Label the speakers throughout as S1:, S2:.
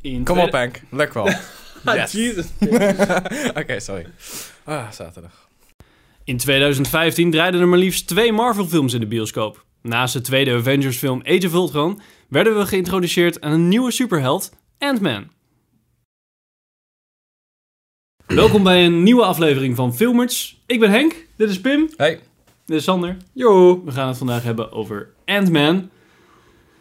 S1: In Ah,
S2: Kom op,
S1: tweede-
S2: Henk. Lukt wel. Yes.
S1: Jesus.
S2: Oké, sorry. Ah, zaterdag.
S1: In 2015 draaiden er maar liefst twee Marvel-films in de bioscoop. Naast de tweede Avengers-film Age of Ultron werden we geïntroduceerd aan een nieuwe superheld, Ant-Man. Welkom bij een nieuwe aflevering van Filmers. Ik ben Henk, dit is Pim,
S2: Hey.
S1: dit is Sander.
S2: Yo.
S1: We gaan het vandaag hebben over Ant-Man.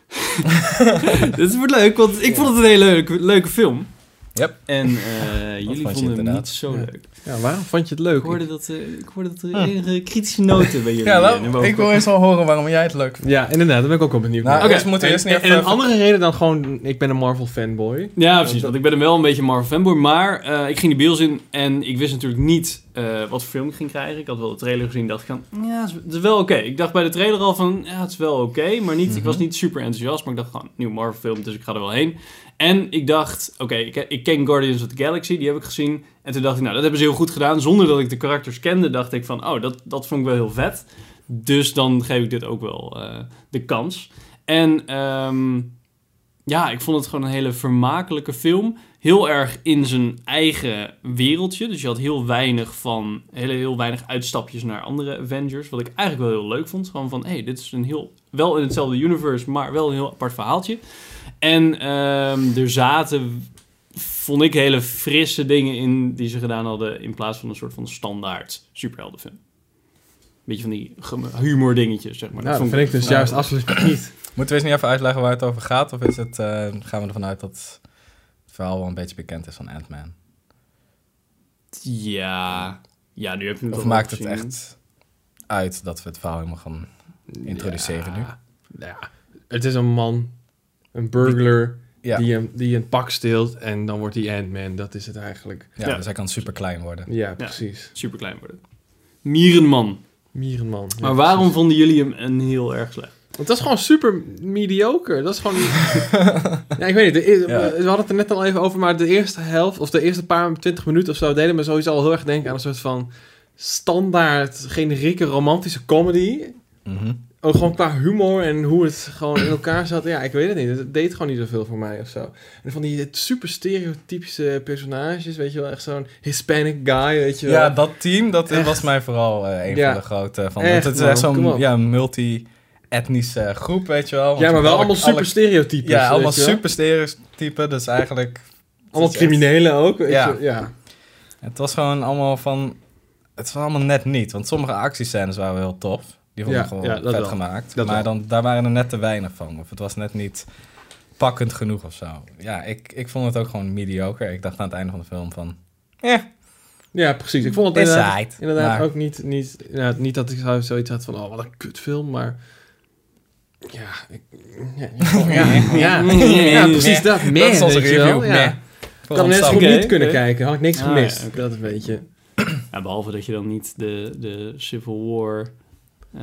S1: dit wordt leuk, want ik vond het een hele leuke, leuke film.
S2: Yep.
S1: En eh,
S2: vond je
S1: jullie vonden hem
S2: inderdaad?
S1: niet zo
S2: Ja.
S1: leuk.
S3: Ja, waarom vond je het leuk?
S1: Ik hoorde dat, eh, ik hoorde dat er enige kritische noten bij jullie
S2: Ja,
S1: eh, naar
S2: nou,
S1: boven
S2: ik wil eens al horen waarom jij het leuk vindt.
S3: Ja, inderdaad, daar ben ik ook wel benieuwd
S2: Nou,
S3: naar.
S1: Oké.
S2: eerst moeten we eerst
S3: En,
S2: niet
S3: en
S2: even...
S3: een andere reden dan gewoon, ik ben een Marvel fanboy.
S1: komen. Ja, precies. Want ik ben er wel een beetje Marvel fanboy. Maar eh, ik ging de bios in en ik wist natuurlijk niet eh, wat voor film ik ging krijgen. Ik had wel de trailer gezien en dacht ik van, ja, het is- het is wel oké. Ik dacht bij de trailer al van, ja, het is wel oké. maar niet, ik was niet super enthousiast. Maar ik dacht gewoon, nieuw Marvel film, dus ik ga er wel heen. En ik dacht, oké, ik, ik ken Guardians of the Galaxy, die heb ik gezien. En toen dacht ik, nou, dat hebben ze heel goed gedaan. Zonder dat ik de karakters kende, dacht ik van, oh, dat, dat vond ik wel heel vet. Dus dan geef ik dit ook wel eh, de kans. En ehm, ja, ik vond het gewoon een hele vermakelijke film. Heel erg in zijn eigen wereldje. Dus je had heel weinig van, hele, heel weinig uitstapjes naar andere Avengers. Wat ik eigenlijk wel heel leuk vond. Gewoon van, hé, hey, dit is een heel, wel in hetzelfde universe, maar wel een heel apart verhaaltje. En ehm, er zaten, vond ik, hele frisse dingen in die ze gedaan hadden. In plaats van een soort van standaard superheldenfilm. Beetje van die gem- humor dingetjes, zeg maar.
S3: nou, dat
S1: vond
S3: vind ik dus
S2: nou,
S3: juist absoluut niet.
S2: Moeten we eens niet even uitleggen waar het over gaat? Of is het, eh, gaan we ervan uit dat het verhaal wel een beetje bekend is van Ant-Man?
S1: Ja, ja, nu heb je het
S2: Of
S1: al
S2: maakt het
S1: gezien.
S2: echt uit dat we het verhaal helemaal gaan introduceren nu?
S3: Ja, ja. het is een man, een burglar,
S2: Ja.
S3: die, hem, die een pak steelt en dan wordt hij Ant-Man. Dat is het eigenlijk.
S2: Ja,
S1: Ja.
S2: dus hij kan super klein worden.
S3: Ja, precies.
S1: super klein worden. Mierenman.
S3: Mierenman. ja,
S1: maar waarom
S3: precies.
S1: vonden jullie hem een heel erg slecht?
S3: Want dat is gewoon super mediocre. Dat is gewoon... ja, ik weet niet. de- e-
S2: Ja.
S3: We hadden het er net al even over, maar de eerste helft... of de eerste paar twintig minuten of zo... deden me sowieso al heel erg denken aan een soort van... standaard, generieke, romantische comedy.
S2: Mhm.
S3: Ook gewoon qua humor en hoe het gewoon in elkaar zat. Ja, ik weet het niet. Het deed gewoon niet zoveel voor mij of zo. En van die super stereotypische personages, weet je wel. Echt zo'n Hispanic guy, weet je wel.
S2: Ja, dat team, dat
S3: Echt.
S2: was mij vooral eh, een
S3: Ja.
S2: van de grote. Van,
S3: Echt,
S2: want het is
S3: man,
S2: echt
S3: kom
S2: zo'n
S3: op.
S2: ja, multi-etnische groep, weet je wel. want
S3: ja, maar wel
S2: alle-
S3: allemaal super
S2: alle-
S3: stereotypes.
S2: Ja, allemaal
S3: weet je wel.
S2: super stereotypen, dus eigenlijk...
S3: Allemaal
S2: het is echt-
S3: criminelen ook. Weet
S2: Ja.
S3: Je, ja.
S2: Het was gewoon allemaal van... Het was allemaal net niet, want sommige actiescènes waren heel tof. Die vond
S3: Ja,
S2: ik gewoon
S3: ja,
S2: vet
S3: dat wel.
S2: gemaakt.
S3: Dat
S2: maar
S3: wel.
S2: dan, daar waren er net te weinig van. Of het was net niet pakkend genoeg of zo. Ja, ik, ik vond het ook gewoon mediocre. Ik dacht aan het einde van de film van... Eh,
S3: Ja, precies. Ik vond het
S2: Is
S3: inderdaad,
S2: right,
S3: inderdaad
S2: maar-
S3: ook niet, niet, inderdaad, niet dat ik zou- zoiets had van, oh, wat een kutfilm, maar... Ja, ik, ja, ja, ja, ja, ja, precies dat. Man,
S2: dat is onze
S3: weet je wel.
S2: review.
S3: Ja.
S2: meh.
S3: Ik
S2: Voor
S3: had net zo
S2: onszelf.
S3: goed
S1: Oké,
S3: niet kunnen
S1: oké.
S3: kijken, had ik niks
S1: Ah,
S3: gemist.
S1: ja, oké.
S3: Dat weet je.
S1: Ja, behalve dat je dan niet de, de Civil War eh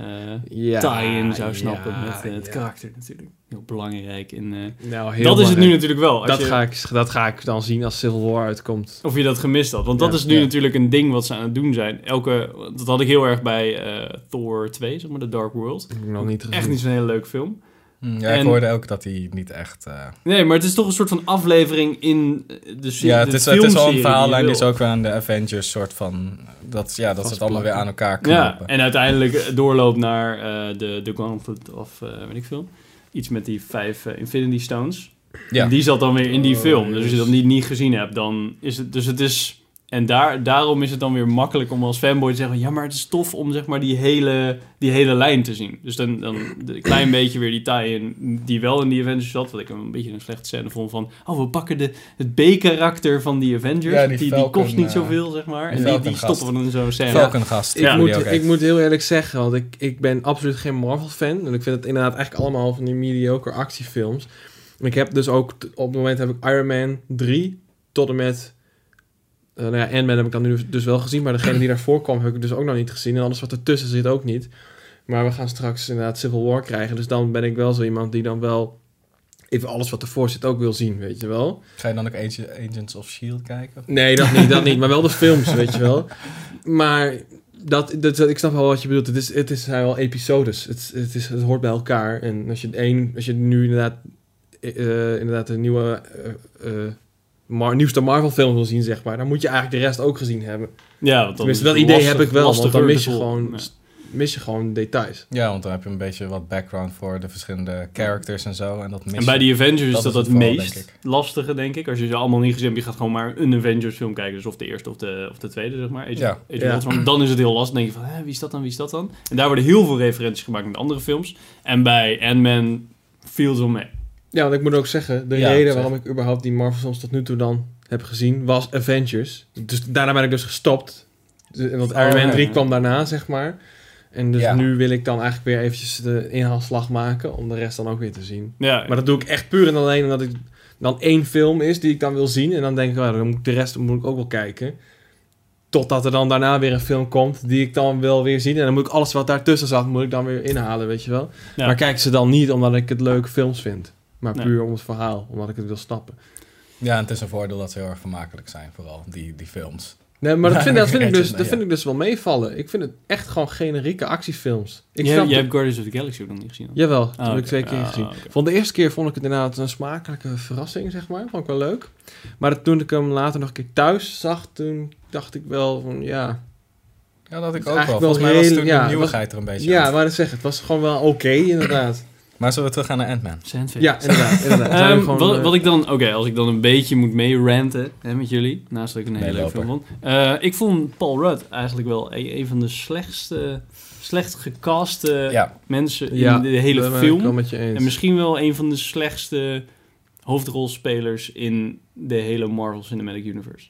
S3: Ja,
S1: tie-in zou snappen
S3: ja,
S1: met eh, het
S3: ja.
S1: karakter natuurlijk. Heel belangrijk. In, eh,
S3: Nou, heel
S1: dat is het nu
S3: belangrijk.
S1: natuurlijk wel. Als
S3: Dat,
S1: je,
S3: ga ik, dat ga ik dan zien als Civil War uitkomt.
S1: Of je dat gemist had. Want dat
S3: Ja,
S1: is nu
S2: ja.
S1: natuurlijk een ding wat ze aan het doen zijn. Elke, dat had ik heel erg bij eh, Thor 2, zeg maar, The Dark World.
S3: Heb ik nog niet gezien.
S1: Echt niet zo'n hele leuke film.
S2: Hm, Ja, ik
S1: En-
S2: hoorde ook dat hij niet echt... eh,
S1: Nee, maar het is toch een soort van aflevering in eh, de serie.
S2: ja, het is, het is wel een verhaallijn
S1: verhaallijn
S2: die is ook weer aan de Avengers soort van... Dat, ja, dat ze het allemaal weer aan elkaar
S1: Ja,
S2: knopen.
S1: en uiteindelijk eh, doorloopt naar eh, de, de Gauntlet of eh, weet ik veel. Iets met die vijf eh, Infinity Stones.
S2: Ja.
S1: En Die zat dan weer in die
S3: Oh,
S1: film. Dus als je dat
S3: yes.
S1: niet, niet gezien hebt, dan is het... Dus het is... En daar, daarom is het dan weer makkelijk om als fanboy te zeggen... Ja, maar het is tof om zeg maar die hele, die hele lijn te zien. Dus dan, dan een klein beetje weer die tie-in die wel in die Avengers zat. Wat ik een beetje een slechte scène vond van... Oh, we pakken de, het B-karakter van die Avengers.
S2: Ja, die
S1: die, die,
S2: Falcon,
S1: kost niet
S2: eh,
S1: zoveel, zeg maar. En
S2: die
S1: die, die
S2: Falcon-gast.
S1: stoppen we dan in zo'n scène.
S2: Falcon gast.
S3: Ik,
S1: Ja.
S3: moet, ik moet heel eerlijk zeggen, want ik, ik ben absoluut geen Marvel-fan. En ik vind het inderdaad eigenlijk allemaal van die mediocre actiefilms. En ik heb dus ook, t- op het moment heb ik Iron Man 3 tot en met... eh nou ja, Ant-Man heb ik dan nu dus wel gezien. Maar degene die daarvoor kwam heb ik dus ook nog niet gezien. En alles wat ertussen zit ook niet. Maar we gaan straks inderdaad Civil War krijgen. Dus dan ben ik wel zo iemand die dan wel even alles wat ervoor zit ook wil zien, weet je wel.
S2: Ga je dan ook Age- Agents of S.H.I.E.L.D. E kijken?
S3: Nee, dat niet, dat niet. Maar wel de films, weet je wel. Maar dat, dat, ik snap wel wat je bedoelt. Het, is, het is, zijn wel episodes. Het, is- het, is, het hoort bij elkaar. En als je het één, als je nu inderdaad eh, inderdaad de nieuwe, eh, eh, Mar- nieuwste Marvel film wil zien, zeg maar, dan moet je eigenlijk de rest ook gezien hebben.
S1: Ja, want dan
S3: Tenminste,
S1: is
S3: dat
S1: het
S3: idee
S1: lastig-
S3: heb ik wel, want dan
S1: lastiger
S3: mis je
S1: te volgen.
S3: gewoon,
S1: Ja.
S3: mis je gewoon details.
S2: Ja, want dan heb je een beetje wat background voor de verschillende characters en zo. En, dat mis
S1: En bij
S2: je.
S1: die Avengers is
S2: Dat
S1: dat
S2: is
S1: het
S2: het vooral,
S1: meest
S2: denk ik.
S1: lastige, denk ik. Als je ze allemaal niet gezien hebt, je gaat gewoon maar een Avengers film kijken. Dus of de eerste of de, of de tweede, zeg maar. Age of-
S2: Ja.
S1: Age of
S3: Ja.
S1: Ultron. Dan is het heel lastig. Dan denk je van, hè, wie is dat dan, wie is dat dan? En daar worden heel veel referenties gemaakt met andere films. En bij Ant-Man viel het wel mee.
S3: Ja, want ik moet ook zeggen, de
S2: Ja,
S3: reden
S2: zeg.
S3: waarom ik überhaupt die Marvel films tot nu toe dan heb gezien, was Avengers. Dus daarna ben ik dus gestopt. Dus- Want
S2: Oh,
S3: Iron Man
S1: ja.
S3: 3 kwam daarna, zeg maar. En dus
S2: Ja.
S3: nu wil ik dan eigenlijk weer eventjes de inhaalslag maken om de rest dan ook weer te zien.
S1: Ja,
S3: Maar dat doe ik echt puur en alleen omdat ik dan één film is die ik dan wil zien. En dan denk ik, oh, dan moet ik de rest moet ik ook wel kijken. Totdat er dan daarna weer een film komt die ik dan wil weer zien. En dan moet ik alles wat daartussen zat, moet ik dan weer inhalen, weet je wel.
S1: Ja.
S3: Maar kijk ze dan niet omdat ik het leuke films vind. Maar
S1: Nee.
S3: puur om het verhaal, omdat ik het wil snappen.
S2: ja, en het is een voordeel dat ze heel erg vermakelijk zijn, vooral die, die films.
S3: Nee, maar dat vind, dat vind, ik, dus,
S2: Ja.
S3: dat vind ik dus wel meevallen. Ik vind het echt gewoon generieke actiefilms.
S1: jij,
S3: Ik snap
S1: jij
S3: het-
S1: hebt Guardians of the Galaxy ook nog niet gezien. dan?
S3: Jawel, dat
S1: Ah,
S3: heb ik
S1: oké.
S3: twee keer
S1: Ah,
S3: gezien.
S1: oké.
S3: Van de eerste keer vond ik het inderdaad een smakelijke verrassing, zeg maar. Vond ik wel leuk. Maar toen ik hem later nog een keer thuis zag, toen dacht ik wel van ja.
S2: Ja, dat had ik
S3: Het is
S2: ook wel.
S3: eigenlijk wel
S2: Volgens mij was
S3: heel-
S2: toen
S3: ja,
S2: de
S3: was-
S2: nieuwigheid er een beetje
S3: Ja,
S2: uit.
S3: maar dat zeg, het was gewoon wel oké, inderdaad.
S2: Maar zullen we teruggaan naar Ant-Man?
S1: Sandvik.
S3: ja, inderdaad. inderdaad.
S1: Ehm,
S3: Zijn we gewoon,
S1: wat,
S3: eh,
S1: wat ik dan, oké, als ik dan een beetje moet meeranten hè, met jullie, naast dat ik een hele leuke film vond. Eh, ik vond Paul Rudd eigenlijk wel e-, een, een van de slechtste, slecht gecaste
S3: Eh.
S2: Ja,
S1: mensen
S3: ja,
S1: in de hele
S3: daar ben ik
S1: film.
S3: wel met je eens.
S1: En misschien wel een van de slechtste hoofdrolspelers in de hele Marvel Cinematic Universe.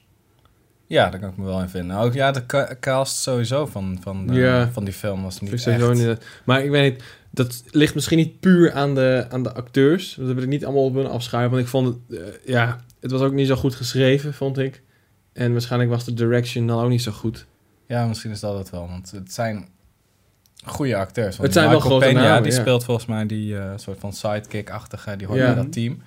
S2: ja, daar kan ik me wel in vinden. Ook ja, de ca- cast sowieso van, van, de-
S3: Ja.
S2: van die film was
S3: Vind ik
S2: niet echt...
S3: sowieso niet- Maar ik weet niet, dat ligt misschien niet puur aan de, aan de acteurs. Dat wil ik niet allemaal op hun afschuiven. Want ik vond het, eh, ja, het was ook niet zo goed geschreven, vond ik. En waarschijnlijk was de direction dan ook niet zo goed.
S2: Ja, misschien is dat het wel, want het zijn goede acteurs. Want
S3: Het zijn wel
S2: Michael
S3: grote
S2: Peña,
S3: namen,
S2: die
S3: ja.
S2: speelt volgens mij die eh, soort van sidekick-achtige, die hoort
S3: Ja.
S2: bij dat team.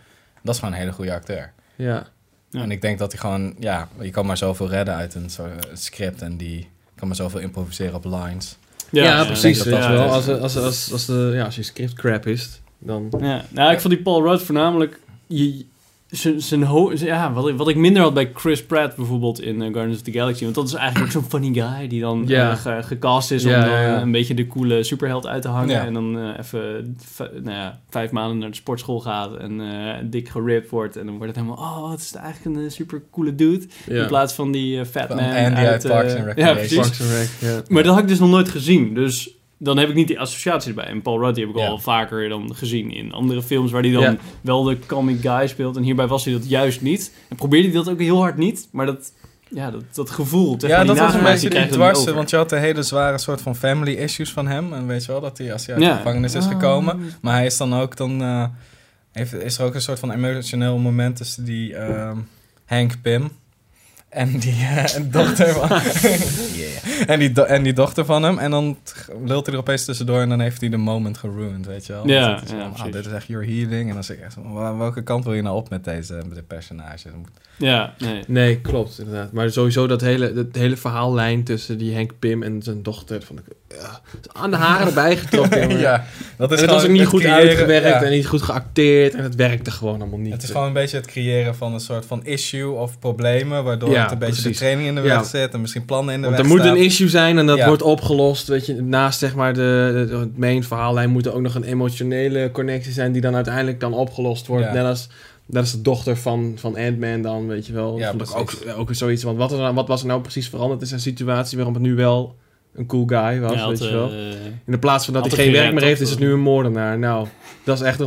S2: Dat is gewoon een hele goede acteur.
S3: Ja,
S1: Ja.
S2: En ik denk dat hij gewoon, ja, je kan maar zoveel redden uit een soort eh, script en die kan maar zoveel improviseren op lines.
S3: ja,
S2: denk
S3: precies.
S2: dat
S3: weet
S2: dat
S3: je
S2: wel
S3: wel.
S2: is.
S3: Als, als, als, als, de, ja, als je script crap is, dan...
S1: Ja. Nou, ik vond die Paul Rudd voornamelijk... Je, zijn, zijn ho- ja, wat, ik, wat ik minder had bij Chris Pratt bijvoorbeeld in eh, Guardians of the Galaxy. Want dat is eigenlijk ook zo'n funny guy die dan
S3: Ja.
S1: eh, ge- gecast is
S3: Ja,
S1: om dan
S3: ja, ja.
S1: eh, een beetje de coole superheld uit te hangen.
S2: Ja.
S1: En dan eh, even v- nou ja, vijf maanden naar de sportschool gaat en eh, dik geript wordt. En dan wordt het helemaal, oh, het is eigenlijk een eh, super coole dude. In
S3: Ja,
S1: plaats van die eh, fat
S2: Van
S1: man
S2: Andy uit
S1: eh,
S2: Parks and
S1: Ja,
S2: Recreation.
S1: precies.
S3: Parks and Rec, ja.
S1: Maar dat had ik dus nog nooit gezien. Dus dan heb ik niet die associatie erbij. En Paul Rudd die heb ik
S2: Ja.
S1: al vaker dan gezien in andere films... waar hij dan
S3: Ja.
S1: wel de comic guy speelt. En hierbij was hij dat juist niet. En probeerde hij dat ook heel hard niet. Maar dat, ja, dat, dat gevoel tegen
S2: ja,
S1: die
S2: dat was een
S1: nagemaakte
S2: beetje die
S1: krijg je dan niet
S2: dwarse,
S1: over.
S2: want je had de hele zware soort van family issues van hem. En weet je wel, dat hij als hij uit
S1: Ja.
S2: de gevangenis is
S1: Ah.
S2: gekomen. Maar hij is dan ook, dan eh, heeft, is er ook een soort van emotioneel moment tussen die ehm, Hank Pym en die eh, dochter van... Yeah. en, die do- en die dochter van hem. En dan t- lult hij er opeens tussendoor en dan heeft hij de moment geruined, weet je wel.
S1: Ja,
S2: Dus het is
S1: ja,
S2: van, ah,
S1: precies.
S2: dit is echt your healing. En dan zeg ik echt, zo, wa- welke kant wil je nou op met deze met dit personage? Dan moet-
S1: Ja, nee.
S3: Nee, klopt, inderdaad. Maar sowieso dat hele, dat hele verhaallijn tussen die Henk Pim en zijn dochter... Van, aan de haren erbij getrokken. jongen.
S2: ja, dat
S3: En
S2: is
S3: het was ook
S2: gewoon
S3: niet
S2: het
S3: goed
S2: creëren-
S3: uitgewerkt
S2: ja.
S3: en niet goed geacteerd. En het werkte gewoon allemaal niet. Dus
S2: Het is gewoon een beetje het creëren van een soort van issue of problemen, waardoor
S3: Ja,
S2: het een beetje de
S3: precies.
S2: training in de
S3: Ja.
S2: weg zit en misschien plannen in de
S3: Want
S2: weg
S3: er moet
S2: staan.
S3: een issue zijn en dat
S2: Ja.
S3: wordt opgelost. Weet je, naast zeg maar de, de- het main verhaallijn moet er ook nog een emotionele connectie zijn die dan uiteindelijk dan opgelost wordt.
S2: Ja.
S3: Net als dat is de dochter van, van Ant-Man dan, weet je wel.
S2: Ja,
S3: Ja, vond ik ook,
S2: precies.
S3: ook weer zoiets. Want wat, er, nou- wat was er nou precies veranderd in zijn situatie waarom het nu wel een cool guy was,
S1: Ja, had,
S3: weet je wel.
S1: eh,
S3: In de plaats van dat hij
S1: had
S3: geen
S1: het
S3: werk
S1: gered,
S3: meer heeft,
S1: of,
S3: is het
S1: eh,
S3: nu een moordenaar. Nou, dat is echt een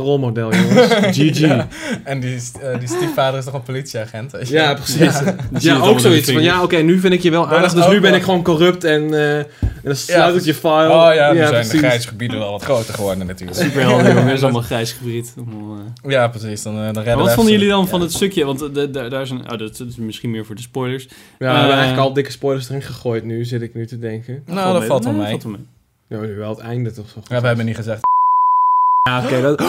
S3: rolmodel, jongens. GG.
S2: Ja.
S3: Ja,
S2: En die, st- eh, die stiefvader is toch een politieagent? weet je?
S3: precies. Ja,
S1: zie je het
S3: ook
S1: allemaal
S3: zoiets
S1: in
S3: van,
S1: de
S3: ja, oké, nu vind ik je wel
S2: Dat is
S3: aardig, dus
S2: ook
S3: nu ben
S2: wel-
S3: ik gewoon corrupt en, eh, en dan sluit het je file.
S2: Oh ja, nu zijn de
S3: precies.
S2: grijze gebieden wel wat groter geworden natuurlijk.
S1: Superhelden, jongen. is allemaal grijs gebied. Allemaal, eh.
S2: Ja, precies. Dan, eh, dan redden
S1: Maar
S2: we
S1: wat vonden
S2: even-
S1: jullie dan van
S2: ja.
S1: het stukje? Want eh, de- de- daar is een... Oh, dat, dat is misschien meer voor de spoilers.
S2: Nou,
S3: Ja, we hebben
S1: Eh,
S3: eigenlijk al dikke spoilers erin gegooid nu, zit ik nu te denken.
S2: Nou, dat valt wel
S1: Nee,
S2: mee.
S1: valt wel mee.
S3: Nou, nu wel het einde toch zo goed.
S2: Ja, we hebben niet gezegd.
S3: Ja, oké, dat...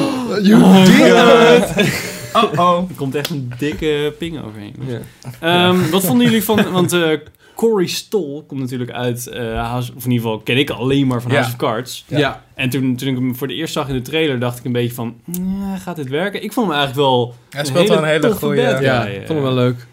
S1: Oh,
S3: did
S2: Oh oh.
S1: Er komt echt een dikke ping overheen.
S3: Ja.
S1: Ehm, Wat vonden jullie van... Want eh, Corey Stoll komt natuurlijk uit eh, House... Of in ieder geval ken ik alleen maar van
S2: Ja.
S1: House of Cards.
S2: Ja.
S3: Ja.
S1: En toen, toen ik hem voor de eerst zag in de trailer, dacht ik een beetje van... "Ja, gaat dit werken? Ik vond hem eigenlijk wel...
S2: Hij speelt wel een hele
S1: toffe
S2: goede.
S1: bad
S2: Ja,
S3: Ja,
S1: guy, eh.
S3: vond hem wel leuk.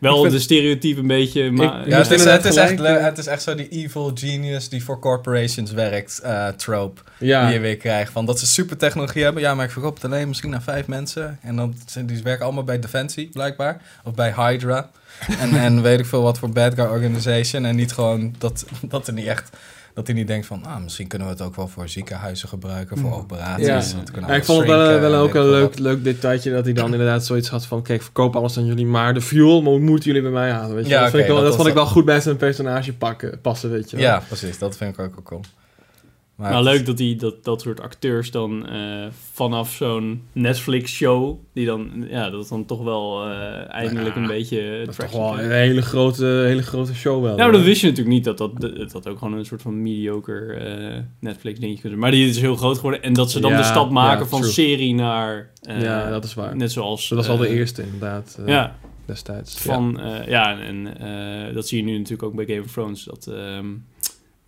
S1: Wel
S3: Ik vind-
S1: de stereotype een beetje, maar...
S3: Ik-
S1: ja,
S3: Ja,
S2: het, is,
S3: inderdaad
S2: het, is
S3: gelijk,
S2: echt, le-
S3: eh.
S2: het is echt zo die evil genius die voor corporations werkt, eh, trope.
S3: Ja,
S2: Die je weer krijgt. Van dat ze super technologie hebben. Ja, maar ik verkoop het alleen misschien naar vijf mensen. En dan, zijn- die werken allemaal bij Defensie, blijkbaar. Of bij Hydra. En, en weet ik veel wat voor bad guy organization. En niet gewoon dat, dat er niet echt... Dat hij niet denkt van, ah, misschien kunnen we het ook wel voor ziekenhuizen gebruiken, voor operaties.
S3: Ja.
S2: want we kunnen
S3: Ja,
S2: alles
S3: ik vond het wel, eh,
S2: shrinken
S3: wel
S2: en
S3: ook
S2: weet
S3: een
S2: ik veel
S3: leuk, leuk detailje dat hij dan inderdaad zoiets had van... Kijk, verkoop alles aan jullie, maar de fuel mo- moeten jullie bij mij halen. Weet je?
S2: Ja,
S3: dat vind
S2: oké,
S3: ik wel,
S2: dat
S3: dat,
S2: was
S3: vond ik
S2: dat-
S3: wel goed bij zijn personage pakken, passen, weet je
S2: wat.
S3: wel.
S2: Ja, precies. Dat vind ik ook wel cool. Maar
S1: nou,
S2: het is-
S1: leuk dat, die, dat dat soort acteurs dan eh, vanaf zo'n Netflix-show... Die dan, ja, dat dan toch wel eh, eindelijk
S3: Ja,
S1: een beetje...
S3: Dat is toch
S1: traction
S3: wel
S1: krijgt.
S3: een hele grote, hele grote show wel.
S1: Ja, maar Nou, dat wist je natuurlijk niet, dat dat, dat, dat ook gewoon een soort van mediocre eh, Netflix-dingetje kunnen Maar die is heel groot geworden. En dat ze dan
S3: Ja,
S1: de stap maken
S3: ja,
S1: van
S3: true.
S1: serie naar... eh,
S3: Ja, dat is waar.
S1: Net zoals...
S3: Dus dat was al de
S1: eh,
S3: eerste inderdaad eh,
S1: Ja,
S3: destijds.
S1: van... Ja, ja en eh, dat zie je nu natuurlijk ook bij Game of Thrones. Dat ehm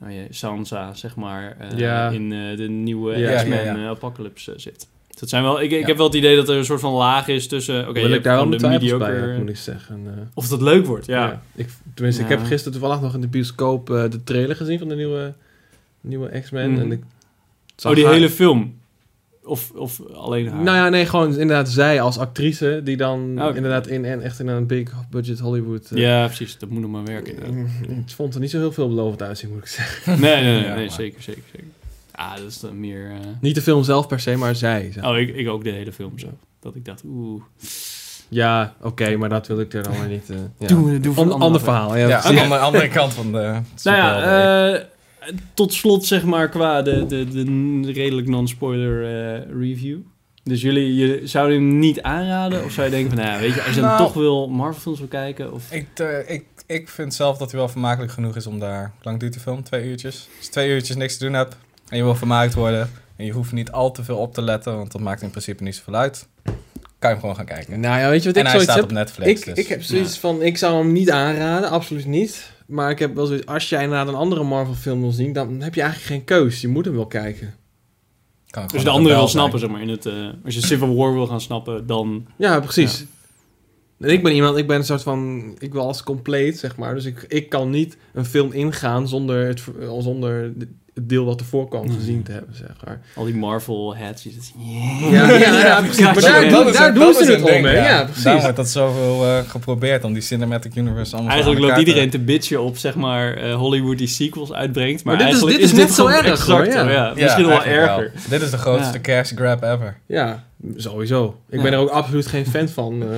S1: nou ja, Sansa, zeg maar, eh,
S3: Ja.
S1: in eh, de nieuwe
S3: Ja, ja,
S1: X-Men
S2: ja.
S1: eh, Apocalypse eh, zit. Dus Dat zijn wel, ik, ik
S2: Ja.
S1: heb wel het idee dat er een soort van laag is tussen... Oké,
S3: Oké,
S1: je
S3: Wil
S1: hebt
S3: ik daar wel
S1: gewoon
S3: mijn
S1: de
S3: twijfels
S1: mediocre...
S3: bij hebben, moet ik zeggen. eh.
S1: Of dat leuk wordt, ja.
S3: Ik, tenminste, ik
S1: Ja.
S3: heb gisteren toevallig nog in de bioscoop eh, de trailer gezien van de nieuwe, nieuwe X-Men.
S1: Mhm.
S3: En ik zag
S1: Oh, die
S3: haar-
S1: hele film. Of, of alleen haar. Oh,
S3: Nou ja, nee, gewoon inderdaad zij als actrice die dan
S1: Oké.
S3: inderdaad in en echt in een big budget Hollywood. eh,
S1: Ja, precies. Dat moet nog maar werken. inderdaad.
S3: eh, Het vond er niet zo heel veel belovend uitzien, moet ik zeggen.
S1: Nee, nee, nee,
S2: Ja,
S1: nee,
S2: maar-
S1: zeker, zeker, zeker. Ah, dat is dan meer... eh,
S3: Niet de film zelf per se, maar zij. zeg.
S1: Oh, ik, ik ook de hele film zo. Dat ik dacht, oeh...
S3: Ja, oké, maar dat wil ik er dan weer niet. eh ja.
S1: we,
S3: Ander- ander verhaal. Ja,
S2: Ja,
S3: precies.
S2: aan de andere- andere kant van de
S1: Nou ja,
S2: superhelden.
S1: eh, tot slot zeg maar qua de, de, de redelijk non-spoiler eh, review. Dus jullie, jullie zouden hem niet aanraden? Of zou je denken van, nou ja, weet je, als je dan
S2: Nou.
S1: toch wil Marvel films wil kijken? Of...
S2: Ik, eh, ik, ik vind zelf dat hij wel vermakelijk genoeg is om daar... Hoe lang duurt die film? Twee uurtjes? Als je twee uurtjes niks te doen hebt en je wil vermaakt worden... en je hoeft niet al te veel op te letten, want dat maakt in principe niet zoveel uit... kan je hem gewoon gaan kijken.
S3: Nou ja, weet je wat
S2: en hij
S3: ik zoiets
S2: staat
S3: heb?
S2: op Netflix,
S3: Ik,
S2: dus...
S3: ik heb zoiets van, ik zou hem niet aanraden, absoluut niet. Maar ik heb wel zoiets, als jij inderdaad een andere Marvel film wil zien, dan heb je eigenlijk geen keus. Je moet hem wel kijken.
S2: kan ik
S1: Als je
S2: gewoon
S1: Dus de andere
S2: wel
S1: wil
S2: zijn.
S1: snappen, zeg maar. In het, eh, als je Civil War wil gaan snappen, dan...
S3: Ja, precies. En ik ben iemand, ik ben een soort van, ik wil alles compleet, zeg maar. Dus ik, ik kan niet een film ingaan zonder het, ver- zonder het deel wat ervoor kwam gezien
S1: Mm.
S3: te hebben, zeg maar.
S1: Al die Marvel hats. die zitten-
S3: Ja, ja, ja, precies. Maar
S2: Dat
S3: daar
S2: is-
S3: doen-
S2: dat is-
S3: daar
S2: dat
S3: doen
S2: is
S3: ze
S2: een
S3: het om,
S2: ding,
S3: hè? Ja, precies.
S2: Daarom wordt dat zoveel eh, geprobeerd om die Cinematic Universe allemaal
S1: Eigenlijk
S2: aan
S1: loopt
S2: elkaar te-
S1: iedereen te bitchen op zeg maar eh, Hollywood die sequels uitbrengt. Maar,
S3: Maar dit is-
S1: eigenlijk
S3: dit is net
S1: het gewoon
S3: zo erg,
S1: exact
S3: hoor, ja.
S1: zo,
S2: Ja,
S1: Misschien nog wel
S2: eigenlijk
S1: erger.
S2: Dit is de grootste
S1: Ja.
S2: cash grab ever.
S3: Ja, sowieso. Ik
S1: Ja.
S3: ben er ook absoluut geen fan van. eh.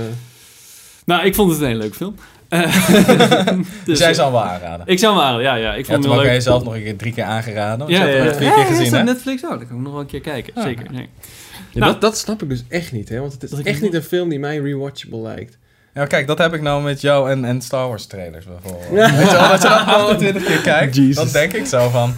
S1: Nou, ik vond het een hele leuke film. Eh, dus,
S2: Dus jij zou hem wel aanraden.
S1: Ik zou hem aanraden, ja, ja. Ik
S2: Je
S1: vond
S2: hebt hem
S1: hem
S2: ook
S1: wel
S2: aan
S1: leuk.
S2: jezelf nog een keer drie keer aangeraden. want
S1: Ja,
S2: je hebt hem
S1: ja,
S2: net
S1: ja.
S2: vier keer
S1: is
S2: gezien,
S1: dat
S2: hè?
S1: Netflix? Oh, dat kan ik nog wel een keer kijken.
S2: Ja.
S1: Zeker, nee.
S3: Ja,
S1: Nou.
S3: dat, dat snap ik dus echt niet, hè? Want het
S1: Dat
S3: is
S1: ik
S3: echt
S1: niet-
S3: niet een film die mij rewatchable lijkt.
S2: Ja, maar kijk, dat heb ik nou met jou en, en Star Wars trailers bijvoorbeeld. Weet je wel, dat je dat 28 keer kijkt,
S3: Jezus.
S2: dan denk ik zo van...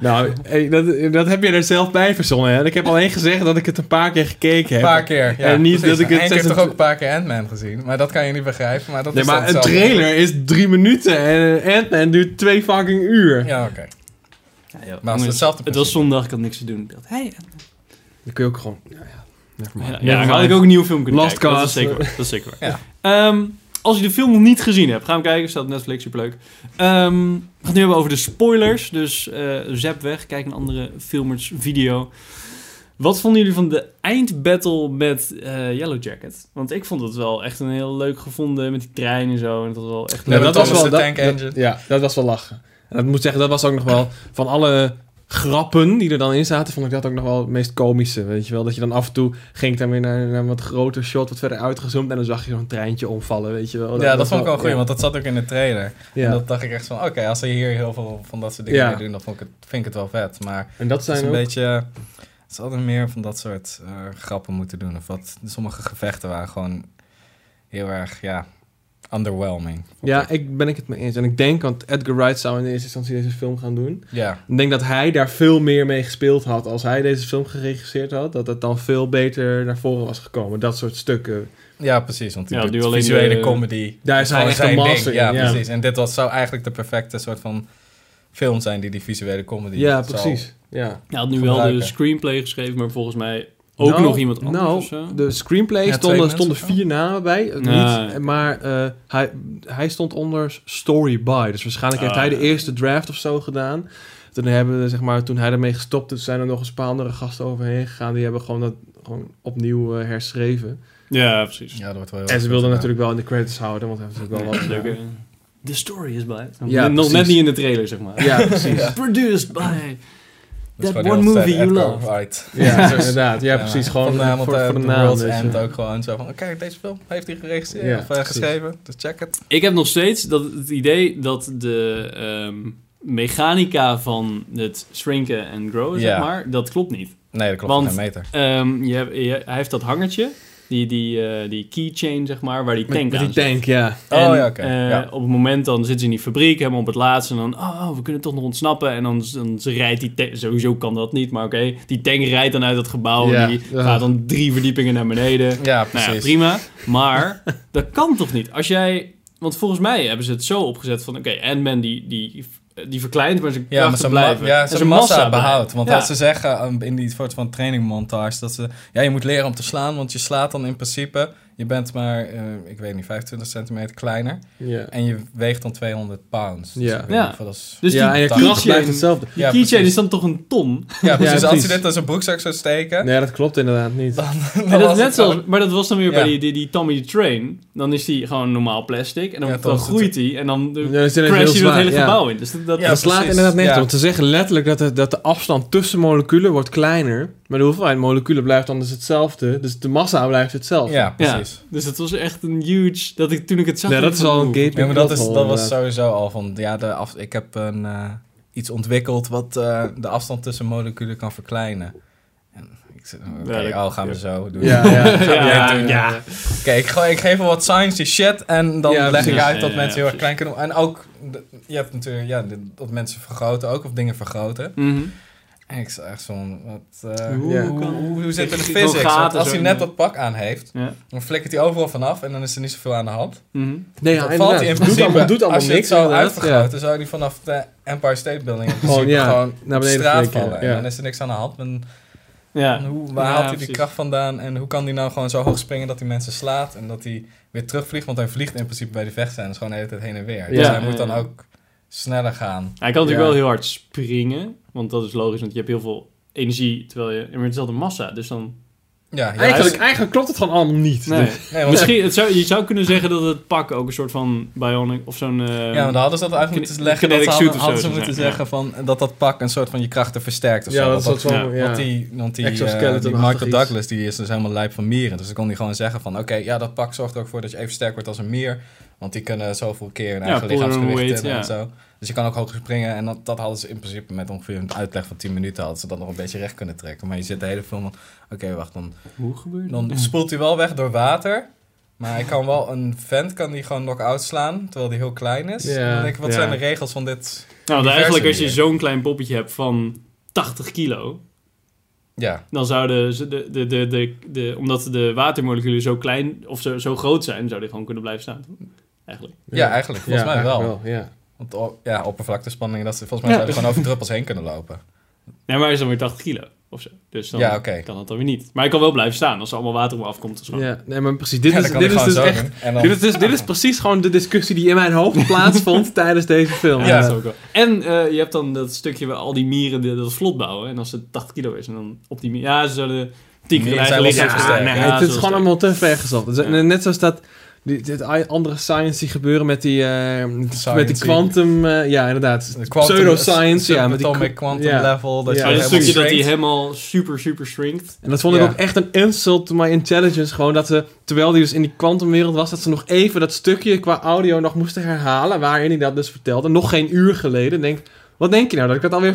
S3: Nou, hey, dat, dat heb je er zelf bij verzonnen, hè? Ik heb alleen gezegd dat ik het een paar keer gekeken
S2: Een
S3: heb.
S2: paar keer. Ja,
S3: En niet dat ik het
S2: Eén keer
S3: zes-
S2: toch ook een paar keer Ant-Man gezien. Maar dat kan je niet begrijpen. Maar dat
S3: Nee,
S2: is
S3: maar
S2: dan
S3: een
S2: zo.
S3: trailer is drie minuten en een Ant-Man duurt twee fucking uur.
S2: Ja, oké.
S1: Ja, joh,
S2: Maar als
S1: jongens,
S2: het hetzelfde
S1: het was
S2: principe.
S1: zondag, ik had niks te doen. Ik dacht, hey,
S3: Dan kun je ook gewoon... Ja, ja. Never mind.
S1: ja,
S3: Never
S1: ja, dan had
S3: mind.
S1: ik ook een nieuwe film kunnen
S3: Last
S1: kijken. Dat is
S3: Cast.
S1: zeker waar. Dat is zeker waar.
S2: Ja.
S1: Ehm, als je de film nog niet gezien hebt, ga hem kijken. Staat op Netflix, superleuk. Ehm, we gaan het nu hebben over de spoilers. Dus eh zap weg, kijk een andere filmers video. Wat vonden jullie van de eindbattle met eh, Yellow Jacket? Want ik vond het wel echt een heel leuk gevonden met die trein en zo. En dat was wel echt
S2: Ja,
S3: Ja,
S1: leuk.
S2: maar
S3: dat was
S2: Thomas
S3: wel...
S2: the
S3: Dat,
S2: Tank
S3: dat-
S2: Engine.
S3: ja, dat was wel lachen. En dat moet zeggen, dat was ook nog wel... Van alle grappen die er dan in zaten, vond ik dat ook nog wel het meest komische. Weet je wel, dat je dan af en toe ging ik dan weer naar, naar een wat groter shot, wat verder uitgezoomd... en dan zag je zo'n treintje omvallen, weet je wel.
S2: Ja, dat vond ik wel goed,
S3: ja.
S2: want dat zat ook in de trailer.
S3: Ja.
S2: En dat dacht ik echt van, oké, als ze hier heel veel van dat soort dingen
S3: Ja.
S2: mee doen, dan vond ik het, vind ik het wel vet. Maar
S3: En dat
S2: het is
S3: zijn
S2: een
S3: ook...
S2: beetje... Het is altijd meer van dat soort eh, grappen moeten doen. Of wat, sommige gevechten waren gewoon heel erg, ja, underwhelming. vond
S3: Ja,
S2: ik.
S3: ik ben ik het mee eens. En ik denk, want Edgar Wright zou in eerste instantie deze film gaan doen.
S2: Ja,
S3: Ik denk dat hij daar veel meer mee gespeeld had als hij deze film geregisseerd had. Dat het dan veel beter naar voren was gekomen. Dat soort stukken.
S2: Ja, precies. Want die
S1: Ja,
S2: doet
S1: nu alleen
S2: visuele
S1: de-
S2: comedy.
S3: Daar is
S2: Gewoon
S3: hij echt
S2: zijn
S3: een
S2: ding.
S3: master in,
S2: Ja,
S3: ja.
S2: precies. En dit was, zou eigenlijk de perfecte soort van film zijn die die visuele comedy
S3: Ja,
S2: zou-
S3: precies. Ja.
S1: Hij had nu wel de
S2: Gebruiken.
S1: screenplay geschreven, maar volgens mij ook
S3: Nou,
S1: nog iemand anders
S3: nou,
S1: of zo.
S3: De screenplay
S2: Ja, twee
S3: stonden,
S2: mensen
S3: stonden
S2: of zo.
S3: vier namen bij. eh,
S1: Ja,
S3: niet,
S1: ja.
S3: Maar eh, hij, hij stond onder story by. Dus waarschijnlijk heeft
S1: Ah,
S3: hij de
S1: ja.
S3: eerste draft of zo gedaan. Toen, hebben, we, zeg maar, toen hij daarmee gestopt is, zijn er nog eens een paar andere gasten overheen gegaan. Die hebben gewoon dat gewoon opnieuw eh, herschreven.
S1: Ja, precies.
S2: Ja, dat wordt wel heel
S3: En
S2: erg
S3: ze
S2: goed
S3: wilden
S2: gedaan.
S3: natuurlijk wel in de credits houden, want hij heeft natuurlijk wel wat
S1: Leuk,
S3: gedaan.
S1: hè? The story is by.
S3: Ja,
S1: Nog
S3: precies.
S1: net niet in de trailer, zeg maar.
S3: Ja, precies.
S2: Ja.
S1: Produced by.
S2: Dat is
S1: That
S2: gewoon
S1: one
S2: heel
S1: movie
S2: vet.
S1: you
S2: Edgar
S1: love.
S2: Wright. dus-
S3: Ja, inderdaad. Ja, precies. Gewoon
S2: Vandaar,
S3: voor,
S2: want,
S3: voor,
S2: eh,
S3: de
S2: The
S3: naam.
S2: World's
S3: dus,
S2: End
S3: eh.
S2: ook gewoon zo van... Kijk, deze film heeft hij geregisseerd
S3: Ja,
S2: of eh,
S3: precies.
S2: geschreven. Dus check het.
S1: Ik heb nog steeds dat, het idee dat de ehm, mechanica van het shrinken en growen,
S2: Ja.
S1: zeg maar, dat klopt niet.
S2: Nee, dat klopt.
S1: Want-
S2: geen meter.
S1: Ehm, je hebt- je- hij heeft dat hangertje, die, die, eh, die keychain, zeg maar, waar die
S3: Met,
S1: tank
S3: met
S1: aan
S3: die
S1: zit.
S3: tank, ja.
S1: En,
S2: Oh, ja, oké.
S1: eh,
S2: Ja.
S1: Op het moment dan zitten ze in die fabriek, helemaal op het laatste. En dan, oh, we kunnen toch nog ontsnappen. En dan, dan ze rijdt die tank, sowieso kan dat niet, maar oké. Die tank rijdt dan uit dat gebouw
S3: Ja,
S1: en die
S3: ja.
S1: gaat dan drie verdiepingen naar beneden.
S2: Ja,
S1: Nou ja,
S2: precies.
S1: prima. Maar dat kan toch niet? Als jij... Want volgens mij hebben ze het zo opgezet van... Oké, Ant-Man die, die, die verkleint, maar zijn
S2: Ja, maar
S1: krachten
S2: ze
S1: blijven.
S2: ja,
S1: En
S2: ze massa behoudt.
S1: blijft.
S2: Want
S1: Ja.
S2: dat ze zeggen um, in die soort van trainingmontage... dat ze... Ja, je moet leren om te slaan, want je slaat dan in principe... Je bent maar, eh, ik weet niet, 25 centimeter kleiner.
S3: Ja.
S2: En je weegt dan 200 pounds. Dus
S3: Ja.
S2: ik weet
S1: Ja.
S2: niet of dat is-
S1: Dus
S3: ja,
S1: die
S3: en je
S2: tank-
S3: kracht blijft
S1: keychain,
S3: hetzelfde.
S1: die
S2: Ja,
S1: keychain
S2: precies.
S1: is dan toch een ton?
S2: Ja, precies. Als
S3: precies.
S2: je dit als een broekzak zou steken...
S3: Nee, dat klopt inderdaad niet.
S2: dan
S1: En dat
S2: was
S1: is net
S2: het gewoon-
S1: zoals, maar dat was dan weer bij
S2: Ja.
S1: die, die, die Tommy the Train. Dan is die gewoon normaal plastic. En dan,
S2: Ja,
S1: dan
S2: toch,
S1: groeit die. En dan eh,
S3: Ja, dat is inderdaad heel
S1: crash je door
S3: zwaar,
S1: het hele
S3: ja.
S1: gebouw in. Dus dat, dat-
S2: Ja,
S3: dat slaat
S2: precies.
S3: inderdaad nergens
S2: Ja.
S3: op. Want ze zeggen letterlijk dat de, dat de afstand tussen moleculen wordt kleiner. Maar de hoeveelheid moleculen blijft dan dus hetzelfde. Dus de massa blijft hetzelfde.
S2: Ja,
S1: Ja.
S2: precies.
S1: Dus dat was echt een huge... Dat ik, toen ik het zag...
S3: Nee,
S1: dacht
S3: dat is
S1: ik van,
S3: al een
S1: oeh.
S3: gaping
S2: Ja, maar dat, is,
S3: knothole,
S2: dat was
S3: inderdaad.
S2: sowieso al van... Ja, de af, ik heb een, eh, iets ontwikkeld wat eh, de afstand tussen moleculen kan verkleinen. En ik zei, oké,
S1: Ja, dat-
S2: oh, gaan we
S1: ja.
S2: zo doen.
S3: Ja, ja.
S2: Gaan we
S1: Ja,
S3: Eh,
S2: doen.
S1: ja.
S2: Oké, ik, ge- ik geef wel wat science shit en dan leg
S3: Ja, precies.
S2: ik uit dat
S1: Ja,
S2: mensen heel erg
S1: precies.
S2: klein kunnen... En ook, de- je hebt natuurlijk, ja, de- dat mensen vergroten ook, of dingen vergroten.
S1: Mhm.
S2: En ik zag echt zo'n, wat, eh,
S3: Ja.
S2: hoe, hoe, hoe, hoe zit het in de
S1: Gewoon
S2: physics?
S1: gaten
S2: Want als
S1: zo
S2: hij
S1: in de-
S2: net dat pak aan heeft,
S1: Ja.
S2: dan flikkert hij overal vanaf en dan is er niet zoveel aan de hand.
S1: Mhm.
S3: Nee, ja,
S2: Dat
S3: inderdaad.
S2: valt in
S3: Het doet allemaal, doet allemaal
S2: als je
S3: niks.
S2: het zo
S3: inderdaad.
S2: uitvergroot, dan zou die vanaf de Empire State Building in principe
S3: Gewoon, ja,
S2: gewoon
S3: naar
S2: naar
S3: beneden
S2: straat
S3: flikken,
S2: vallen.
S3: ja.
S2: En dan is er niks aan de hand. En
S1: Ja.
S2: hoe, waar
S1: Ja,
S2: haalt hij die
S1: precies.
S2: kracht vandaan? En hoe kan die nou gewoon zo hoog springen dat hij mensen slaat en dat hij weer terugvliegt? Want hij vliegt in principe bij de vechten en is gewoon de hele tijd heen en weer. Dus
S3: Ja.
S2: hij moet dan
S1: Ja.
S2: ook sneller gaan.
S1: Hij kan natuurlijk
S3: Ja.
S1: wel heel hard springen, want dat is logisch, want je hebt heel veel energie, terwijl je... Maar hetzelfde massa, dus dan...
S2: Ja, juist.
S3: Eigenlijk, eigenlijk klopt het gewoon allemaal niet. Dus-
S1: Nee.
S2: Nee, want-
S1: Misschien, het zou, je zou kunnen zeggen dat het pak ook een soort van bionic of zo'n... eh,
S2: Ja, maar dan hadden ze dat uit
S1: Kine-
S2: moeten leggen. Dat ze
S1: kinetic
S2: hadden,
S1: suit of zo
S2: hadden ze
S1: zou
S2: moeten
S1: zijn, ja.
S2: zeggen van, dat dat pak een soort van je krachten versterkt of
S3: ja,
S2: zo.
S3: dat is
S2: Want
S3: wat zo.
S1: ja,
S3: Ja,
S2: Want die, want die, eh,
S3: Exoskeleton-achtig
S2: die Michael
S3: iets.
S2: Douglas die is dus helemaal lijp van mieren. Dus dan kon hij gewoon zeggen van... Oké, ja, dat pak zorgt er ook voor dat je even sterk wordt als een mier. Want die kunnen zoveel keer hun
S1: Ja,
S2: eigen
S1: pull their own
S2: lichaamsgewicht
S1: weight,
S2: tillen
S1: ja.
S2: en zo. Dus je kan ook hoog springen. En dat, dat hadden ze in principe met ongeveer een uitleg van 10 minuten... hadden ze dat nog een beetje recht kunnen trekken. Maar je zit de hele film van... Oké, wacht, dan,
S1: Hoe gebeurt dat?
S2: dan spoelt hij wel weg door water... Maar hij kan wel een vent kan die gewoon knock-out slaan, terwijl die heel klein is.
S3: Ja.
S2: En dan denk ik, wat
S1: Ja.
S2: zijn de regels van dit?
S1: Nou, want
S2: Diverse
S1: eigenlijk als je
S2: manier.
S1: zo'n klein poppetje hebt van 80 kilo,
S2: Ja,
S1: dan zouden ze de, de, de, de, de- omdat de watermoleculen zo klein of zo, zo groot zijn, zouden die gewoon kunnen blijven staan. toch? Eigenlijk.
S2: ja eigenlijk, volgens mij wel.
S3: eigenlijk ja.
S2: Want o- ja, oppervlaktespanning, dat, is- volgens mij
S1: Ja.
S2: zouden ze gewoon over druppels heen kunnen lopen.
S1: Nee, maar hij is dan weer 80 kilo of zo. Dus dan
S2: Ja, oké.
S1: kan dat dan weer niet. Maar hij kan wel blijven staan als er allemaal water om afkomt. Dus gewoon-
S3: ja. Nee, maar precies. Dit
S2: Ja,
S3: is,
S2: dan kan
S3: dit
S2: hij
S3: is dus
S2: gewoon zo
S3: echt...
S2: doen. En dan-
S3: Dit is, dus, dit is precies gewoon de discussie die in mijn hoofd plaatsvond tijdens deze film.
S1: Ja,
S2: Ja.
S1: dat is ook wel. En eh, je hebt dan dat stukje waar al die mieren de, dat vlot bouwen. En als het 80 kilo is, en dan op die mieren... Ja, ze zouden tien keer
S2: Mieren
S1: eigen
S2: zijn wel
S1: lichaam
S2: zo sterk,
S1: versterken.
S2: hè?
S1: Ja,
S3: het
S1: zo
S3: is gewoon
S1: sterk.
S3: allemaal te ver gezocht. Dus,
S1: Ja.
S3: Net zoals dat die, dit i- andere science die gebeuren met die eh, met die
S2: Science.
S3: quantum, eh, ja inderdaad,
S2: De quantum-
S3: pseudoscience, ja, met die
S2: subatomic quantum
S3: ja.
S2: level. Dat
S3: Ja,
S1: Maar
S2: je
S1: dat
S2: helemaal
S1: stukje dat hij
S2: shrinkt.
S1: helemaal super, super shrinkt.
S3: en dat vond ik
S2: Ja.
S3: ook echt een insult to my intelligence, gewoon dat ze terwijl die dus in die quantumwereld was, dat ze nog even dat stukje qua audio nog moesten herhalen waarin hij dat dus vertelde, nog geen uur geleden. Denk, wat denk je nou dat ik dat alweer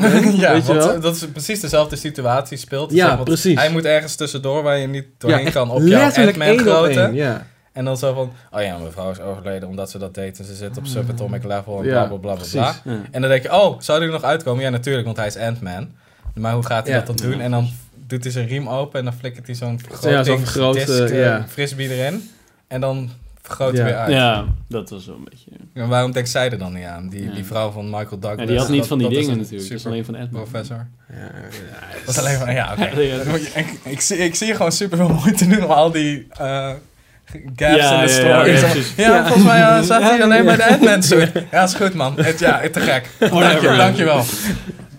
S3: ben?
S2: ja,
S3: weet je
S2: want
S3: wel?
S2: eh, dat is precies dezelfde situatie speelt. Dus
S3: Ja,
S2: dat- want
S3: precies.
S2: Hij moet ergens tussendoor waar je niet doorheen
S3: echt
S2: kan op jouw
S3: letterlijk
S2: Ant-Man
S3: één op één,
S2: grootte.
S3: ja.
S2: En dan zo van, oh ja, mevrouw is overleden omdat ze dat deed. En ze zit op subatomic level en
S3: Ah. Ja,
S2: bla bla bla bla
S3: precies.
S2: bla.
S1: Ja.
S2: En dan denk je, oh, zou die er nog uitkomen? Ja, natuurlijk, want hij is Ant-Man. Maar hoe gaat hij
S3: Ja.
S2: dat dan doen? En dan doet hij zijn riem open en dan flikkert hij zo'n
S3: Ja, zo'n grote,
S2: vergrotingsdisc, eh,
S3: ja.
S2: frisbee erin. En dan vergroot
S3: Ja.
S2: hij weer uit.
S1: Ja, dat was wel een beetje...
S2: En waarom denkt zij er dan niet aan? Die,
S1: Ja.
S2: die vrouw van Michael Douglas.
S1: Ja, die had niet
S2: dat-
S1: van die
S2: dat is
S1: dingen
S2: een
S1: natuurlijk. Dat is
S2: super
S1: alleen van Edmund.
S2: professor.
S3: Ja, ja,
S2: Dat is alleen van, ja, oké.
S1: Ja, ja.
S2: Dan moet je- ik, ik, zie, ik zie je gewoon super veel moeite doen om al die eh, gaps
S1: Ja,
S2: in de
S1: ja,
S2: story.
S1: ja, ja,
S2: Zo-
S1: precies.
S2: ja,
S3: Ja.
S2: volgens mij eh, zat hij
S1: Ja,
S2: alleen
S1: ja.
S2: bij de Edmund. soort. Ja, is goed man. Het, ja, te gek. Dank je,
S1: Whatever.
S2: dankjewel.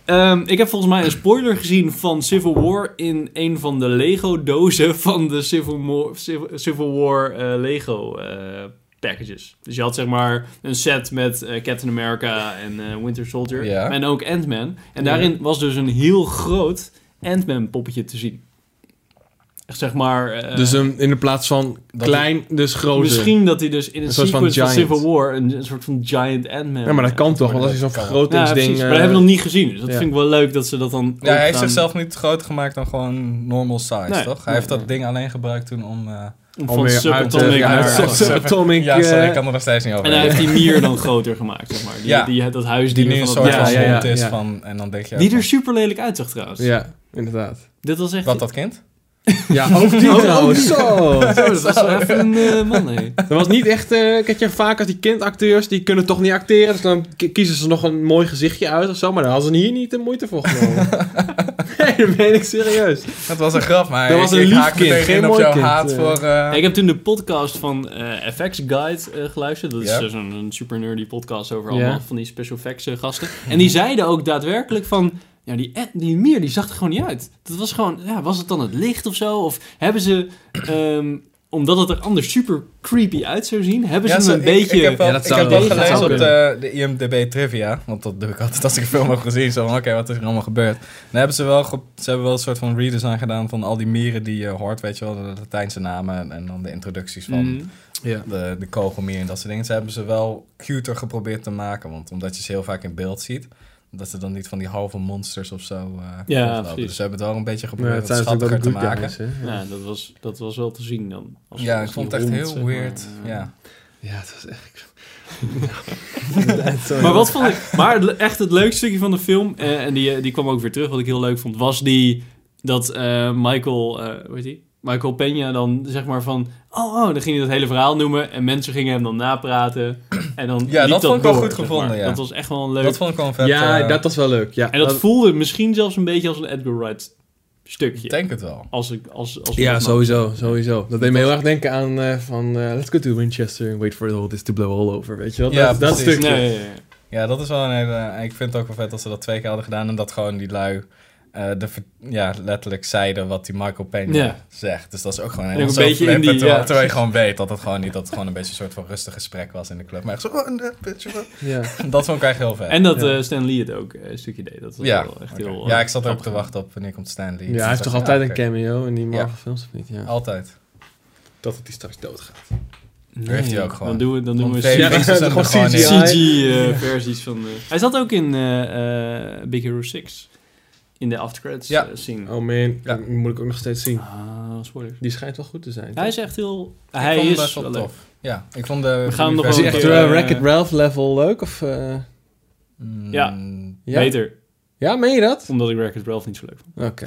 S1: Ehm, ik heb volgens mij een spoiler gezien van Civil War in een van de Lego-dozen van de Civil, Mo- Civ- Civil War eh, Lego eh, packages. Dus je had zeg maar een set met eh, Captain America en eh, Winter Soldier
S2: Ja.
S1: en ook Ant-Man. En
S3: Ja.
S1: daarin was dus een heel groot Ant-Man poppetje te zien. Echt zeg maar... eh,
S3: dus hem in de plaats van
S2: Dat-
S3: klein, dus groter.
S1: misschien dat hij dus in een,
S3: Een soort van
S1: sequence van,
S3: giant.
S1: Civil War een, een soort van giant Ant-Man...
S3: Ja, maar dat kan toch, want als je zo'n
S2: Ja,
S1: Ja,
S3: vergrotingsding...
S1: precies.
S3: eh,
S1: maar dat hebben we nog niet gezien. Dus dat
S3: ja.
S1: vind ik wel leuk dat ze dat dan.
S2: Ja,
S1: ook
S2: hij heeft
S1: gaan-
S2: zichzelf niet groter gemaakt dan gewoon normal size,
S1: Nee.
S2: toch? Hij heeft dat ding alleen gebruikt toen om... eh,
S1: om
S3: om
S1: van
S3: weer uit,
S1: subatomic
S3: eh, ja,
S1: naar.
S2: uit
S3: sub- subatomic,
S2: ja, sorry,
S3: eh,
S2: ik kan er nog steeds niet over.
S1: en hij heeft
S2: hebben.
S1: die mier dan groter gemaakt, zeg maar. Die,
S2: Ja.
S1: die, dat
S2: die
S1: huisdier
S2: nu een
S1: van dat
S2: soort
S3: Ja,
S2: van
S3: ja, ja,
S2: hond is
S3: ja.
S2: van... En dan denk je...
S1: Die
S2: van,
S1: er super lelijk uitzag trouwens.
S3: Ja, inderdaad.
S1: Dit was echt.
S2: Wat, dat kind?
S3: Ja, ook die
S1: Oh,
S3: trouwens.
S1: oh,
S3: Zo.
S1: Zo, dat was wel even een eh, man, hé.
S3: Dat was niet echt... eh kijk, je vaak als die kindacteurs, die kunnen toch niet acteren. Dus dan ki- kiezen ze nog een mooi gezichtje uit of zo. Maar daar hadden ze hier niet de moeite voor genomen. nee, dat meen ik serieus.
S2: Dat was een grap, maar
S3: Dat
S2: ik,
S3: was een
S2: ik
S3: lief
S2: haak
S3: kind,
S2: meteen
S3: geen
S2: in op
S3: mooi
S2: jouw
S3: kind,
S2: haat
S3: eh.
S2: voor... eh,
S1: Ik heb toen de podcast van eh, FX Guide eh, geluisterd. Dat is
S2: Ja.
S1: dus een, een super nerdy podcast over
S3: Ja.
S1: allemaal van die special effects eh, gasten. En die zeiden ook daadwerkelijk van... Ja, die, eh, die meer, die zag er gewoon niet uit. Dat was gewoon... Ja, was het dan het licht of zo? Of hebben ze... ehm, omdat het er anders super creepy uit zou zien... Hebben ze
S2: Ja,
S1: hem
S2: zo-
S1: een
S2: ik-
S1: beetje...
S2: Ik heb wel,
S3: dus Ja, dat
S2: ik
S3: zou
S2: heb wel
S1: wel- dat
S2: gelezen
S1: zou
S2: op de, de IMDb trivia, want dat doe ik altijd als ik een film heb gezien. Zo van, oké, wat is er allemaal gebeurd? Dan hebben ze wel, ge- ze hebben wel een soort van redesign gedaan van al die mieren die je hoort, weet je wel, de Latijnse namen en, en dan de introducties van
S1: Mm.
S3: Ja.
S2: de, de kogelmier en dat soort dingen. Ze hebben ze wel cuter geprobeerd te maken, want omdat je ze heel vaak in beeld ziet, dat ze dan niet van die halve monsters of zo eh, rondlopen.
S1: precies.
S2: Dus ze hebben het wel een beetje
S3: Maar
S2: geprobeerd het
S3: het zijn natuurlijk
S2: schattiger
S3: ook
S2: te
S3: de
S2: maken.
S3: good guys, hè.
S1: Ja, dat was, dat was wel te zien dan. Als-
S2: Ja,
S1: als
S2: ik vond
S1: die
S2: het echt
S1: hond,
S2: heel
S1: zeg maar,
S2: weird.
S1: eh,
S2: ja.
S3: Ja, het was echt...
S1: Maar wat vond ik... Maar het- echt het leukste stukje van de film... eh, en die, eh, die kwam ook weer terug, wat ik heel leuk vond... was die... Dat eh, Michael... eh hoe heet die? Michael Peña dan zeg maar van... Oh, oh, dan ging hij dat hele verhaal noemen... en mensen gingen hem dan napraten. En dan
S2: Ja,
S1: liep
S2: dat vond ik wel
S1: door,
S2: goed
S1: zeg maar.
S2: gevonden, ja.
S1: Dat was echt wel een leuk...
S2: Dat vond ik wel een vet.
S3: Ja,
S2: eh,
S3: dat was wel leuk. Ja,
S1: en dat, voelde misschien zelfs een beetje als een Edgar Wright
S2: ik
S1: stukje.
S2: denk het wel.
S1: Als ik... Als, als
S3: Ja,
S1: zo
S3: sowieso, sowieso. Dat deed me heel erg denken aan eh, van eh, Let's go to Winchester and wait for the this to blow all over, weet je wel?
S2: Ja,
S3: dat, dat
S2: precies.
S3: stukje.
S1: Nee, ja, ja, ja.
S2: Ja, dat is wel een hele... Ik vind het ook wel vet dat ze dat twee keer hadden gedaan. En dat gewoon die lui eh, de, ver- ja, letterlijk zeiden wat die Michael Payne
S1: Ja.
S2: zegt. Dus dat is ook gewoon
S1: En ook een
S2: zo
S1: beetje in
S2: flippant,
S1: die,
S2: terwijl,
S1: ja.
S2: terwijl je gewoon weet dat het gewoon niet... Dat het gewoon een beetje een soort van rustig gesprek was in de club. Maar echt zo... oh, nee, bitch, wat?
S3: Ja.
S2: Dat vond ik echt heel vet.
S1: En dat
S3: Ja.
S1: eh, Stan Lee het ook eh, een stukje deed. Dat was
S2: ja.
S1: wel echt
S2: oké.
S1: heel... eh,
S2: ja, ik zat er ook
S1: grappig.
S2: te wachten op wanneer komt Stanley.
S3: ja, hij heeft toch altijd een cameo in die Marvel
S2: Ja.
S3: films, of niet? Ja.
S1: Oh.
S2: Altijd.
S3: Dat het die straks doodgaat.
S1: Nee,
S2: heeft hij ook gewoon.
S1: Dan doen we, dan doen
S2: Want
S1: we eh,
S2: twee
S3: Ja,
S2: pixels hebben
S3: gewoon
S2: er gewoon
S3: CGI.
S2: in.
S1: CG-versies van... eh, hij zat ook in eh, eh, Big Hero 6. In de after credits
S2: Ja.
S1: eh, scene.
S3: Oh man,
S2: Ja.
S3: die moet ik ook nog steeds zien.
S1: Ah, spoilers.
S3: Die schijnt wel goed te zijn.
S1: Hij is echt heel...
S2: Ik
S1: hij
S2: vond hem
S1: is
S2: best wel
S1: wel leuk.
S2: tof. Ja, ik vond de...
S1: We gaan hem nog
S3: is
S2: versie-
S3: hij
S1: wel een
S3: echt
S1: keer,
S3: uh,
S1: eh,
S3: Wreck-It Ralph level leuk? Of, eh,
S2: Mm,
S1: Ja.
S3: ja?
S1: Beter.
S3: Ja, meen je dat?
S1: Omdat ik Wreck-It Ralph niet zo leuk vond.
S3: Oké.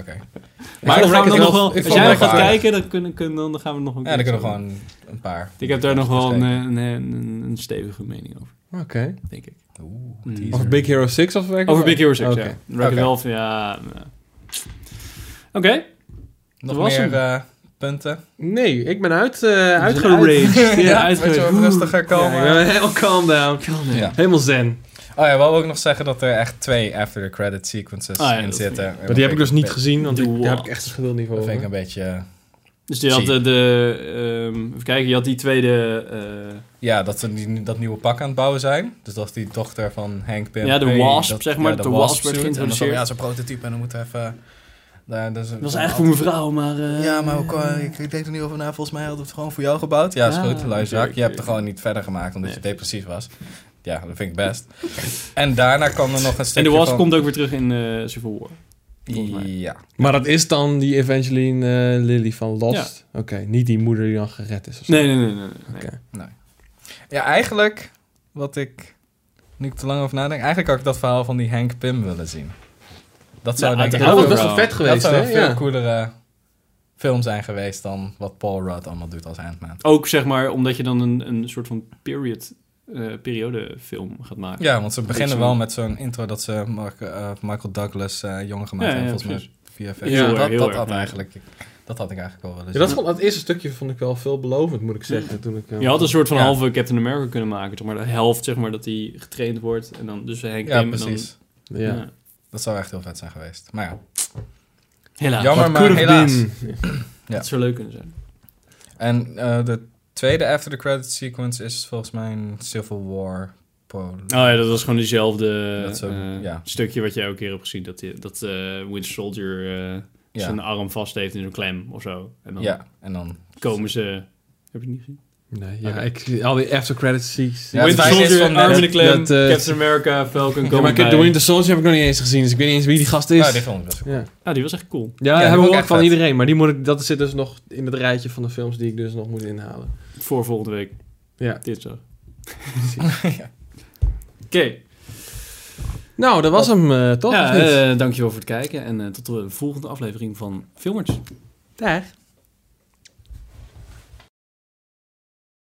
S2: Oké.
S1: Maar
S3: vond
S1: dan gaan we
S3: Wreck-It
S1: dan nog
S3: Ralph-
S1: wel...
S3: ik
S1: Als
S3: vond
S1: jij nog
S2: Wreck-It
S1: gaat
S2: Ralph-
S1: kijken, dan, kunnen, kunnen, dan gaan we nog een
S2: Ja, dan
S1: keer
S2: kunnen we
S1: zo-
S2: gewoon een paar...
S1: Ik heb daar nog wel een,
S2: Steken.
S1: eh, een, een, een stevige mening over,
S3: Oké.
S1: denk ik.
S2: Oeh,
S1: Mm.
S2: teaser.
S3: Over Big Hero 6 of Wreck-It
S1: Over
S3: Ralph?
S1: Big Hero 6,
S3: Oké.
S1: ja. Wreck-It
S2: Oké.
S1: Ralph, ja... eh. Oké.
S2: Nog
S1: Dat was
S2: meer
S1: hem.
S2: eh, punten.
S3: Nee, ik ben uit, eh
S1: Uitgeraged.
S3: uitgeraged.
S1: Ja,
S2: Weet je wel,
S1: uitgeraged.
S2: rustiger komen.
S3: Ja, ik ben helemaal calm down.
S2: Ja.
S3: Helemaal zen.
S2: Oh ja, wou ook nog zeggen dat er echt twee after the credit sequences
S1: Ah ja,
S2: in
S1: dat
S2: zitten.
S1: vind
S2: En
S3: Maar
S2: dat
S3: die heb
S2: vind
S3: ik dus
S2: een
S3: niet
S2: be-
S3: gezien, want die,
S1: Wow.
S3: daar heb ik echt een geduld niet voor.
S2: Dat vind ik
S3: hoor.
S2: een beetje... eh,
S1: Dus je had
S2: Zie.
S1: de, de ehm, even kijken, je had die tweede, eh,
S2: Ja, dat ze die, dat nieuwe pak aan het bouwen zijn. Dus dat is die dochter van Hank Pym.
S1: Ja, de Wasp, zeg maar, de Wasp werd
S2: suit. En dan zo,
S1: geïntroduceerd.
S2: Ja, zo'n prototype en dan moeten we even... Daar, dus,
S1: dat was eigenlijk voor mijn vrouw, maar... eh,
S2: Ja, maar ook, eh, ik, ik denk er niet over na. Volgens mij hadden we het gewoon voor jou gebouwd. Ja, is
S1: Ah,
S2: goed, luister.
S1: natuurlijk.
S2: Je hebt er gewoon niet verder gemaakt omdat
S1: Nee.
S2: je depressief was. Ja, dat vind ik best. En daarna kwam er nog een
S1: En
S2: stukje
S1: de Wasp
S2: van...
S1: komt ook weer terug in eh Civil War. volgens mij.
S2: Ja,
S3: Maar dat is dan die Evangeline eh, Lilly van Lost. Oké, niet die moeder die dan gered is. of zo.
S1: Nee, nee, nee. nee, nee.
S3: Oké.
S2: Ja, eigenlijk, wat ik, nu ik te lang over nadenk, eigenlijk had ik dat verhaal van die Henk Pim willen zien. Dat zou
S1: Ja,
S2: denk ik
S1: uiteraard.
S3: dat
S2: heel
S3: was
S1: Overal.
S3: best wel
S2: dat
S3: vet geweest,
S2: zou
S3: hè?
S2: een veel
S3: Ja.
S2: coolere film zijn geweest dan wat Paul Rudd allemaal doet als Ant-Man.
S1: Ook zeg maar omdat je dan een, een soort van period, eh periodefilm gaat maken.
S2: Ja, want ze beginnen
S1: zo.
S2: wel met zo'n intro dat ze Mark- eh, Michael Douglas eh jonger gemaakt
S1: Ja, ja,
S2: hebben, volgens mij. Via VFX.
S1: Heel erg,
S2: dat,
S1: heel
S2: dat
S1: erg,
S2: had
S1: ja.
S2: eigenlijk, dat had ik eigenlijk wel willen
S3: Ja, dat, vond, dat eerste stukje vond ik wel veelbelovend, moet ik zeggen. Toen ik, eh,
S1: Je had een soort van
S2: Ja.
S1: halve Captain America kunnen maken. Zeg maar de helft zeg maar dat hij getraind wordt en dan dus Henk
S2: Ja,
S1: Pym en dan-
S2: precies.
S3: Ja.
S1: ja.
S2: Dat zou echt heel vet zijn geweest. Maar ja,
S1: Helaas.
S2: Jammer,
S1: Wat
S2: maar
S1: could have
S2: helaas.
S1: been.
S2: Ja.
S1: Dat zou leuk kunnen zijn.
S2: en eh, de tweede after the credits sequence is volgens mij een Civil War. Pol-
S1: Oh ja, dat was gewoon diezelfde
S2: Dat is ook-
S1: eh,
S2: ja.
S1: stukje wat jij ook een keer hebt gezien. Dat, die- dat eh Winter Soldier eh,
S2: ja.
S1: zijn arm vast heeft in zo'n klem of zo. En dan
S2: ja, en dan...
S1: komen ze... Heb je het niet gezien?
S3: Nee, ja,
S2: Oké.
S3: Ah, ik zie al die after credits scenes.
S2: Ja, het
S1: Winter
S2: fijne is
S1: Soldier,
S2: van
S1: arm in
S2: net
S1: de klem,
S3: dat, eh,
S1: Captain America, Falcon,
S3: Ja, maar
S1: komen
S3: ik heb
S1: bij.
S3: The Winter Soldier heb ik nog niet eens gezien, dus ik weet niet eens wie die gast is.
S2: Nou, die film is best goed.
S3: ja.
S1: Ja, Ah, die was echt cool.
S3: Ja,
S2: die
S3: hebben
S2: vond
S3: we
S2: ik
S3: ook
S2: echt
S3: van
S2: vet.
S3: iedereen, maar die moet ik, dat zit dus nog in het rijtje van de films die ik dus nog moet inhalen.
S1: Voor volgende week,
S3: Ja.
S1: dinsdag.
S2: Ja.
S1: Oké,
S3: Nou, dat was hem, eh, toch?
S1: ja,
S3: Of niet?
S1: eh, dankjewel voor het kijken en eh, tot de volgende aflevering van Filmers.
S3: Daar.